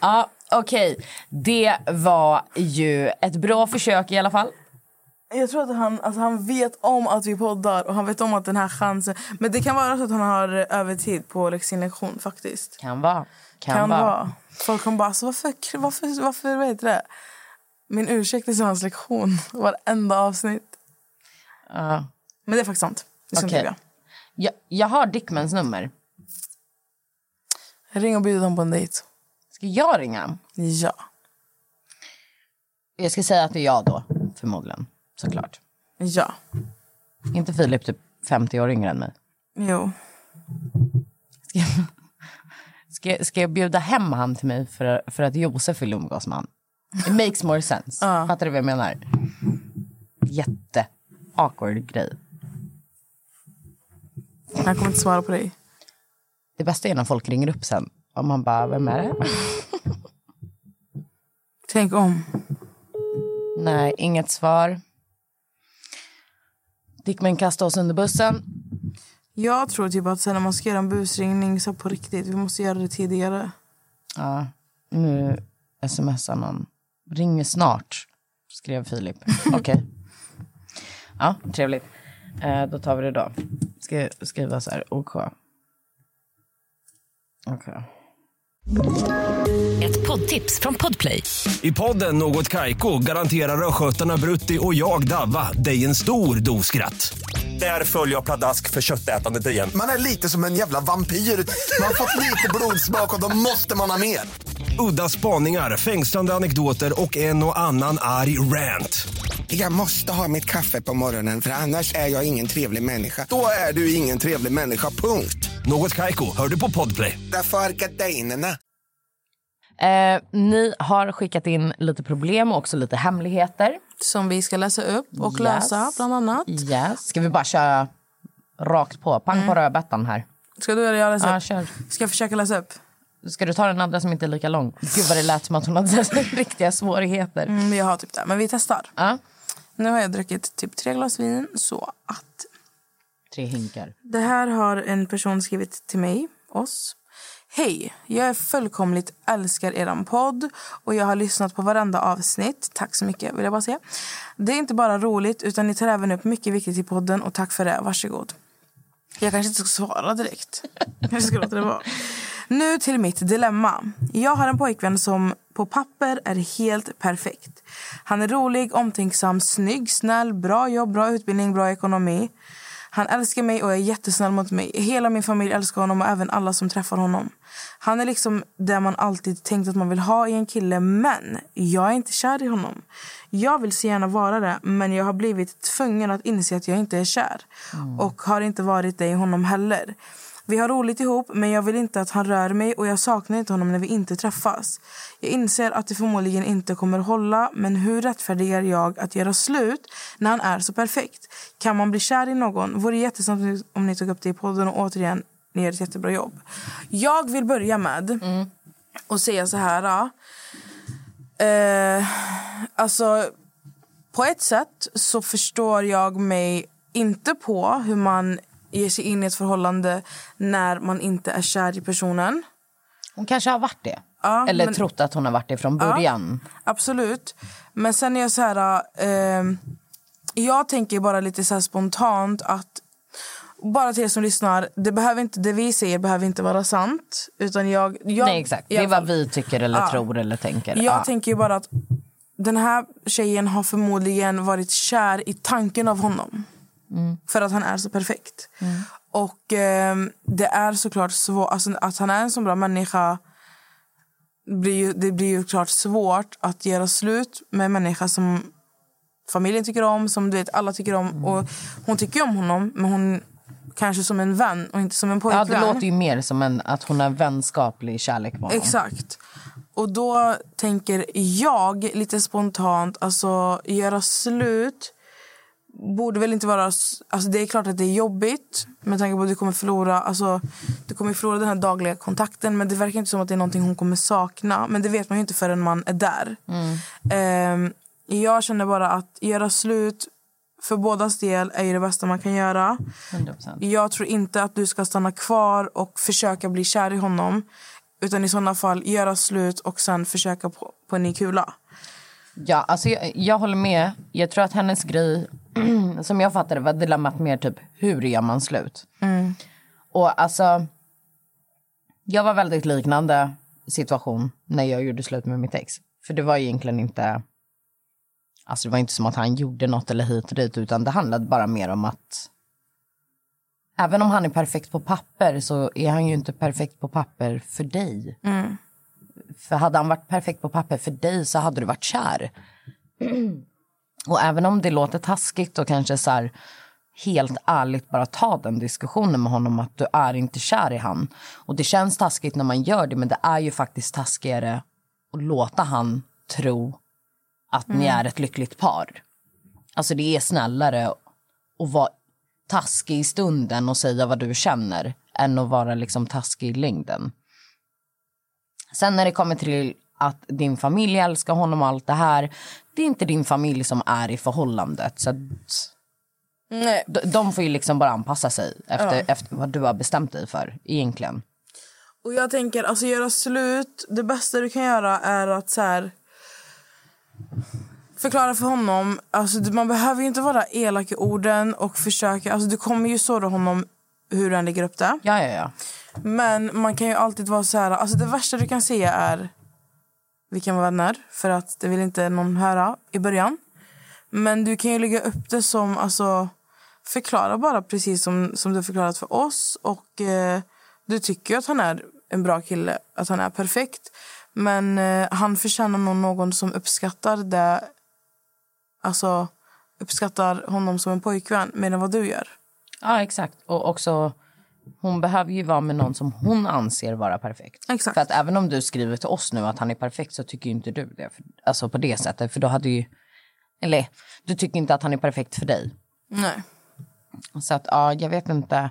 Ja, okej. Det var ju ett bra försök i alla fall. Jag tror att han, alltså han vet om att vi poddar och han vet om att den här chansen... Men det kan vara så att han har övertid på sin lektion faktiskt. Kan vara. Kan, Kan, vara. Folk kommer bara, alltså, varför, varför, varför, vad heter det? Min ursäkt är så hans lektion, varenda avsnitt. Ja. Men det är faktiskt sant. Det ska inte Okej. jag. Jag, jag har Dickmans nummer. Ring och bjud dem på en dejt. Ska jag ringa? Ja. Jag ska säga att det är jag då, förmodligen. Såklart. Ja. Inte Filip typ 50 år yngre än mig? Jo. Ska, ska jag bjuda hem han till mig för, för att Josef vill umgås med han? It makes more sense. Fattar du vad jag menar? Jätte awkward grej. Han kommer inte svara på dig. Det bästa är när folk ringer upp sen och man bara, vem är det? Tänk om. Nej, inget svar. Dickman kastade oss under bussen. Jag tror typ att sen när man ska göra en busringning så här på riktigt, vi måste göra det tidigare. Ja, nu smsar någon. Ringer snart, skrev Filip. Okej. Ja, trevligt. Eh, då tar vi det då. Ska ska skriva så här, OK. Okej. Ett poddtips från Podplay. I podden Något Kaiko garanterar östgötarna Brutti och jag, Davva, dig en stor dos skratt. Där följer jag pladask för köttätandet igen. Man är lite som en jävla vampyr. Man har fått lite blodsmak och då måste man ha mer. Udda spaningar, fängslande anekdoter och en och annan arg rant. Jag måste ha mitt kaffe på morgonen för annars är jag ingen trevlig människa. Då är du ingen trevlig människa, punkt. Något Kaiko, hör du på Podplay. Därför är gardinerna. Eh, ni har skickat in lite problem och också lite hemligheter. Som vi ska läsa upp och lösa, bland annat. Yes. Ska vi bara köra rakt på? Pang på rödbetan här. Ska du eller jag läsa Mm. Ja, upp? kör. Ska jag försöka läsa upp? Ska du ta den andra som inte är lika lång? Gud vad det lät som att hon hade riktiga svårigheter. Mm, jag har typ det, men vi testar. Nu har jag druckit typ tre glas vin, så att... Tre hinkar. Det här har en person skrivit till mig, oss. Hej, jag är fullkomligt älskar er podd och jag har lyssnat på varenda avsnitt. Tack så mycket, vill jag bara säga. Det är inte bara roligt utan ni tar även upp mycket viktigt i podden och tack för det, varsågod. Jag kanske inte ska svara direkt. Jag kanske ska låta det vara. Nu till mitt dilemma. Jag har en pojkvän som på papper är helt perfekt. Han är rolig, omtänksam, snygg, snäll, bra jobb, bra utbildning, bra ekonomi. Han älskar mig och är jättesnäll mot mig. Hela min familj älskar honom och även alla som träffar honom. Han är liksom det man alltid tänkt att man vill ha i en kille, men jag är inte kär i honom. Jag vill så gärna vara det, men jag har blivit tvungen att inse att jag inte är kär. Och har inte varit det i honom heller. Vi har roligt ihop, men jag vill inte att han rör mig och jag saknar inte honom när vi inte träffas. Jag inser att det förmodligen inte kommer hålla, men hur rättfärdigar jag att göra slut när han är så perfekt? Kan man bli kär i någon? Vore jättesnällt om ni tog upp det i podden och återigen, ni gör ett jättebra jobb. Jag vill börja med och säga så här. ja. Eh, alltså, på ett sätt så förstår jag mig inte på hur man ger sig in i ett förhållande när man inte är kär i personen. Hon kanske har varit det. Ja, Eller men- trott att hon har varit det Ja, från början. absolut. Men sen är jag så här... Eh, jag tänker bara lite så här spontant att... Bara till er som lyssnar, det, behöver inte, det vi säger behöver inte vara sant. Utan jag, jag, Nej, exakt. i Det alla är fall- vad vi tycker eller Ja. tror eller tänker. jag Ja. tänker ju bara att den här tjejen har förmodligen varit kär i tanken av honom. Mm. För att han är så perfekt. Och ehm, det är såklart svårt, alltså, att han är en så bra människa blir ju, det blir ju klart svårt att göra slut med en människa som familjen tycker om, som du vet alla tycker om. Mm. Och hon tycker ju om honom, men hon kanske som en vän och inte som en ja, pojkvän. det låter ju mer som en, att hon har vänskaplig kärlek med honom. Exakt. Och då tänker jag lite spontant, alltså göra slut borde väl inte vara... s- Alltså det är klart att det är jobbigt med tanke på att du kommer förlora, alltså, du kommer förlora den här dagliga kontakten men det verkar inte som att det är någonting hon kommer sakna. Men det vet man ju inte förrän man är där. Ehm, jag känner bara att göra slut för bådas del är ju det bästa man kan göra. 100%. Jag tror inte att du ska stanna kvar och försöka bli kär i honom. Utan i sådana fall göra slut och sen försöka på, på en ny kula. Ja, alltså jag, jag håller med. Jag tror att hennes grej, som jag fattade var dilemmat mer typ hur gör man slut? Mm. Och alltså, jag var väldigt liknande situation när jag gjorde slut med mitt ex. För det var egentligen inte, alltså det var inte som att han gjorde något eller hit och dit, utan det handlade bara mer om att även om han är perfekt på papper så är han ju inte perfekt på papper för dig. Mm. För hade han varit perfekt på papper för dig så hade du varit kär. Och även om det låter taskigt och kanske så här helt ärligt bara ta den diskussionen med honom att du är inte kär i han. Och det känns taskigt när man gör det men det är ju faktiskt taskigare att låta han tro att ni Mm. är ett lyckligt par. Alltså det är snällare att vara taskig i stunden och säga vad du känner än att vara liksom taskig i längden. Sen när det kommer till att din familj älskar honom och allt det här. Det är inte din familj som är i förhållandet. Så att Nej. de, de får ju liksom bara anpassa sig efter, Ja. efter vad du har bestämt dig för egentligen. Och jag tänker, alltså göra slut, det bästa du kan göra är att så här, förklara för honom, alltså du- man behöver ju inte vara elak i orden och försöka, alltså du kommer ju såra honom hur den lägger upp det. Ja, ja, ja. Men man kan ju alltid vara så här... Alltså det värsta du kan säga är vi kan vara vänner, för att det vill inte någon höra i början. Men du kan ju lägga upp det som... Alltså, förklara bara precis som, som du förklarat för oss. Och eh, Du tycker ju att han är en bra kille, att han är perfekt. Men eh, han förtjänar nog någon som uppskattar det. Alltså uppskattar honom som en pojkvän mer än vad du gör. Ja, exakt. Och också, hon behöver ju vara med någon som hon anser vara perfekt. Exakt. För att även om du skriver till oss nu att han är perfekt så tycker ju inte du det. För, alltså på det sättet. För då hade ju... Eller, du tycker inte att han är perfekt för dig. Nej. Så att, ja, jag vet inte.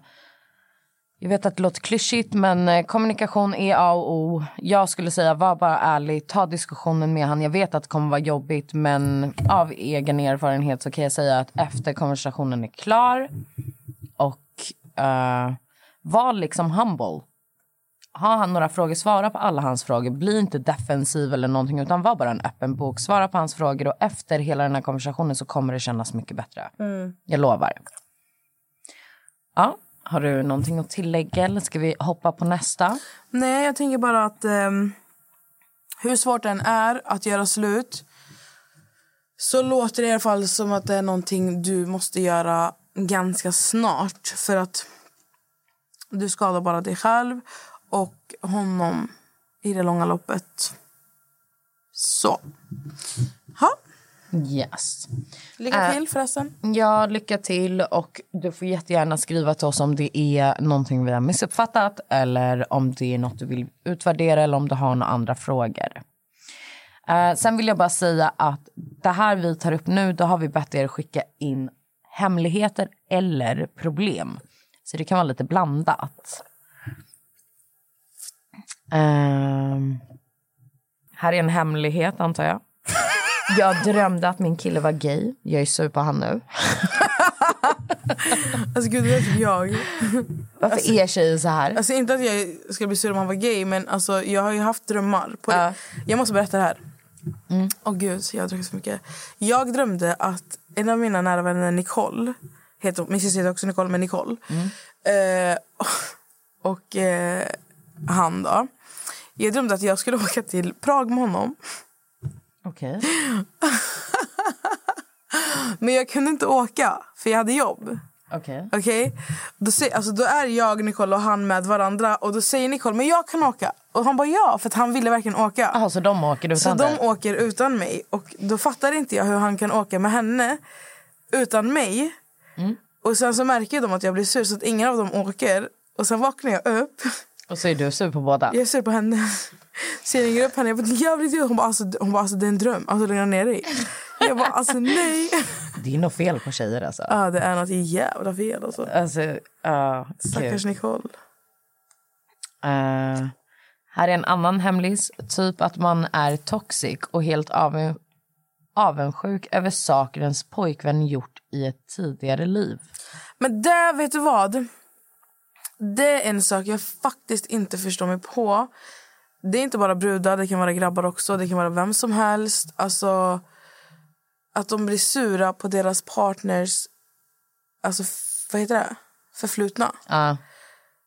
Jag vet att det låter klyschigt, men eh, kommunikation är A och O. Jag skulle säga, var bara ärlig, ta diskussionen med han. Jag vet att det kommer vara jobbigt, men av egen erfarenhet så kan jag säga att efter konversationen är klar och eh, var liksom humble. Har han några frågor, svara på alla hans frågor. Bli inte defensiv eller någonting, utan var bara en öppen bok. Svara på hans frågor och efter hela den här konversationen så kommer det kännas mycket bättre. Mm. Jag lovar. Ja, har du någonting att tillägga eller ska vi hoppa på nästa? Nej, jag tänker bara att ehm, hur svårt den är att göra slut så låter det i alla fall som att det är någonting du måste göra ganska snart för att du skadar bara dig själv och honom i det långa loppet. Så. Ha. Yes. Lycka Eh, till förresten. Ja, lycka till. Och du får jättegärna skriva till oss om det är någonting vi har missuppfattat eller om det är något du vill utvärdera eller om du har några andra frågor. Eh, sen vill jag bara säga att det här vi tar upp nu, då har vi bett er skicka in hemligheter eller problem. Så det kan vara lite blandat. Ehm, här är en hemlighet antar jag. Jag drömde att min kille var gay. Jag är sur på han nu. Alltså gud, det är typ jag. Varför är tjejer så här? Alltså inte att jag skulle bli sur om han var gay men alltså jag har ju haft drömmar. På Jag måste berätta det här. Mm. Åh gud, jag har druckit så mycket. Jag drömde att en av mina nära vänner Nicole, heter, hon- min syster heter också Nicole men Nicole. Eh, och och eh, han då. Jag drömde att jag skulle åka till Prag med honom. Okej. Men jag kunde inte åka för jag hade jobb. Okej. Okej? Då, säger- alltså, då är jag, Nicole och han med varandra och då säger Nicole men jag kan åka. Och han bara ja, för att han ville verkligen åka. Aha, så de åker utan Så de dig? åker utan mig och då fattar inte jag hur han kan åka med henne utan mig. Och sen så märker de att jag blir sur så att ingen av dem åker. Och sen vaknar jag upp. Och så är du sur på båda? Jag är sur på henne. Så jag ringer upp henne. Jag bara, jävligt jobbigt. Hon bara, alltså, hon bara, alltså det är en dröm. Alltså lugna ner dig. Jag bara, alltså nej. Det är nog fel på tjejer alltså. Ja, det är något jävla fel alltså. Alltså, ja, gud. Stackars Nicole. Eh, här är en annan hemlis. Typ att man är toxic och helt av, avundsjuk över saker ens pojkvän gjort i ett tidigare liv. Men det, vet du vad? Det är en sak jag faktiskt inte förstår mig på. Det är inte bara brudar, det kan vara grabbar också. Det kan vara vem som helst. Alltså, att de blir sura på deras partners... Alltså, f- vad heter det? Förflutna. Ja.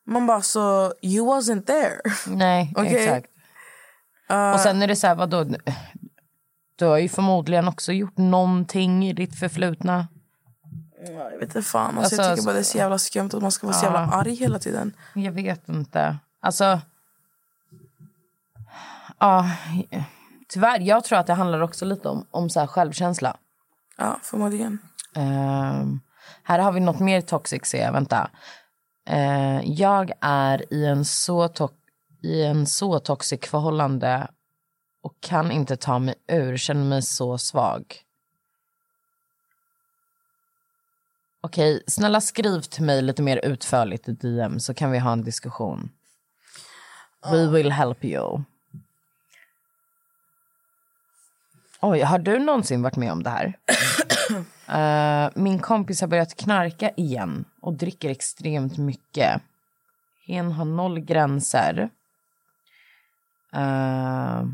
Man bara så, you wasn't there. Nej, Okej? exakt. Eh, Och sen är det så här, vadå? Du har ju förmodligen också gjort någonting i ditt förflutna. Jag vet inte fan. Alltså, jag tycker bara det är så jävla skumt att man ska vara så jävla Ja. arg hela tiden. Jag vet inte. Alltså... Ja, tyvärr. Jag tror att det handlar också lite om, om så här självkänsla. Ja, förmodligen. Ehm, här har vi något mer toxic, ser jag. Vänta. Eh, jag är i en, så to- i en så toxic förhållande och kan inte ta mig ur. Känner mig så svag. Okej, snälla skriv till mig lite mer utförligt i DM så kan vi ha en diskussion. We will help you. Oj, har du någonsin varit med om det här? Eh, min kompis har börjat knarka igen och dricker extremt mycket. Hen har noll gränser. Eh,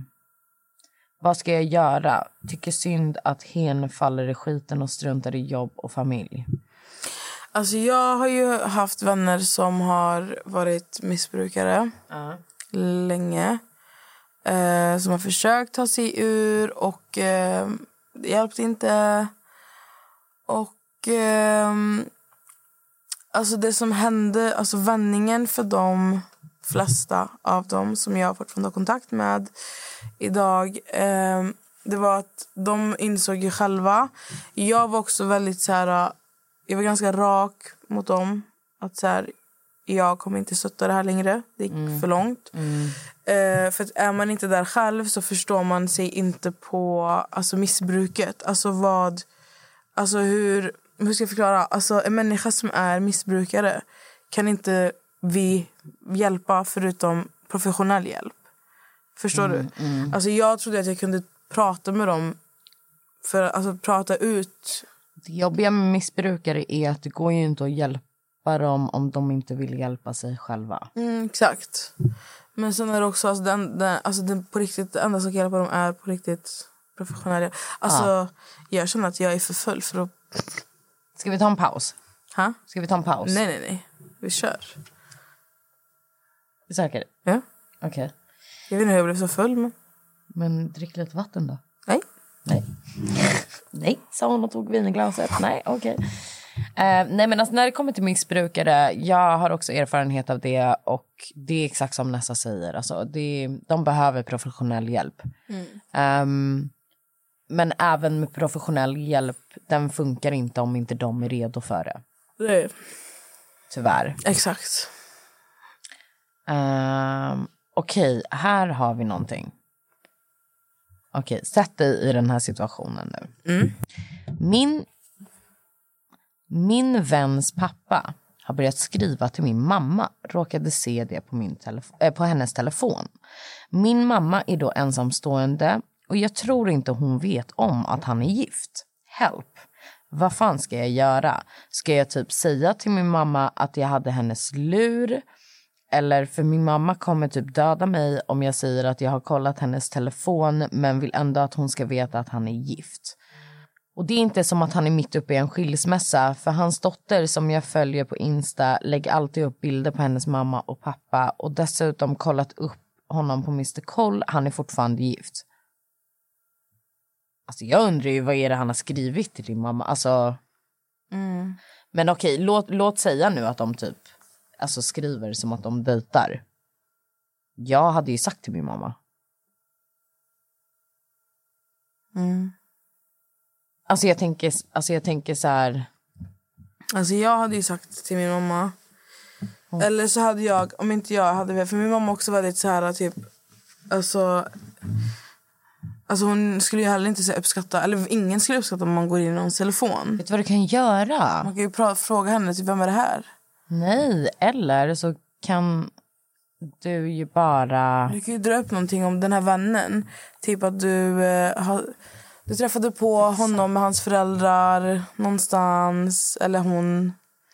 vad ska jag göra? Tycker synd att hen faller i skiten och struntar i jobb och familj. Alltså jag har ju haft vänner som har varit missbrukare länge. Eh, som har försökt ta sig ur och eh, det hjälpte inte. Och ehm, alltså det som hände, alltså vändningen för de flesta av dem som jag fortfarande har kontakt med idag ehm, det var att de insåg ju själva. Jag var också väldigt så här, jag var ganska rak mot dem. Att så här, jag kommer inte stötta det här längre. Det gick för långt. Eh, för att är man inte där själv så förstår man sig inte på alltså, missbruket. Alltså vad... Alltså hur... Hur ska jag förklara? Alltså en människa som är missbrukare kan inte vi hjälpa förutom professionell hjälp. Förstår du? Alltså jag trodde att jag kunde prata med dem. För alltså prata ut. Det jobbiga med missbrukare är att det går ju inte att hjälpa dem om de inte vill hjälpa sig själva. Mm, exakt. Men sen är det också alltså, den, den, alltså, den, på riktigt, det enda som kan hjälpa dem är på riktigt professionella. Alltså, Jag känner att jag är för full för att... Ska vi ta en paus? Ha? Ska vi ta en paus? Nej, nej, nej. Vi kör. Säker? Ja. Okej. Jag vet inte hur jag blev så full. Men... Men drick lite vatten då. Nej. Nej. Nej, sa hon och tog vinglaset. Nej, okej. Eh, nej men alltså när det kommer till missbrukare, jag har också erfarenhet av det och det är exakt som Nessa säger. Alltså, det, de behöver professionell hjälp. Ehm, men även med professionell hjälp, den funkar inte om inte de är redo för det. Det är... Tyvärr. Exakt. Ehm, Okej, här har vi någonting. Okej, sätt dig i den här situationen nu. Min, min väns pappa har börjat skriva till min mamma. Råkade se det på, min telefo- eh, på hennes telefon. Min mamma är då ensamstående och jag tror inte hon vet om att han är gift. Help! Vad fan ska jag göra? Ska jag typ säga till min mamma att jag hade hennes lur? Eller för min mamma kommer typ döda mig om jag säger att jag har kollat hennes telefon men vill ändå att hon ska veta att han är gift. Och det är inte som att han är mitt uppe i en skilsmässa för hans dotter som jag följer på Insta lägger alltid upp bilder på hennes mamma och pappa och dessutom kollat upp honom på Mr Koll. Han är fortfarande gift. Alltså jag undrar ju vad är det han har skrivit till din mamma? Alltså. Mm. Men okej, låt, låt säga nu att de typ alltså skriver som att de dejtar. Jag hade ju sagt till min mamma. Mm. Alltså jag tänker, alltså jag tänker så här. Alltså jag hade ju sagt till min mamma. Eller så hade jag, om inte jag hade för min mamma också väldigt så här typ, alltså. Alltså hon skulle ju heller inte så uppskatta, eller ingen skulle uppskatta om man går in i någons telefon. Vet du vad du kan göra? Man kan ju pra- fråga henne typ, vem är det här? Nej, eller så kan du ju bara... Du kan ju dra upp någonting om den här vännen. Typ att du, eh, har- du träffade på honom med hans föräldrar någonstans. Eller hon.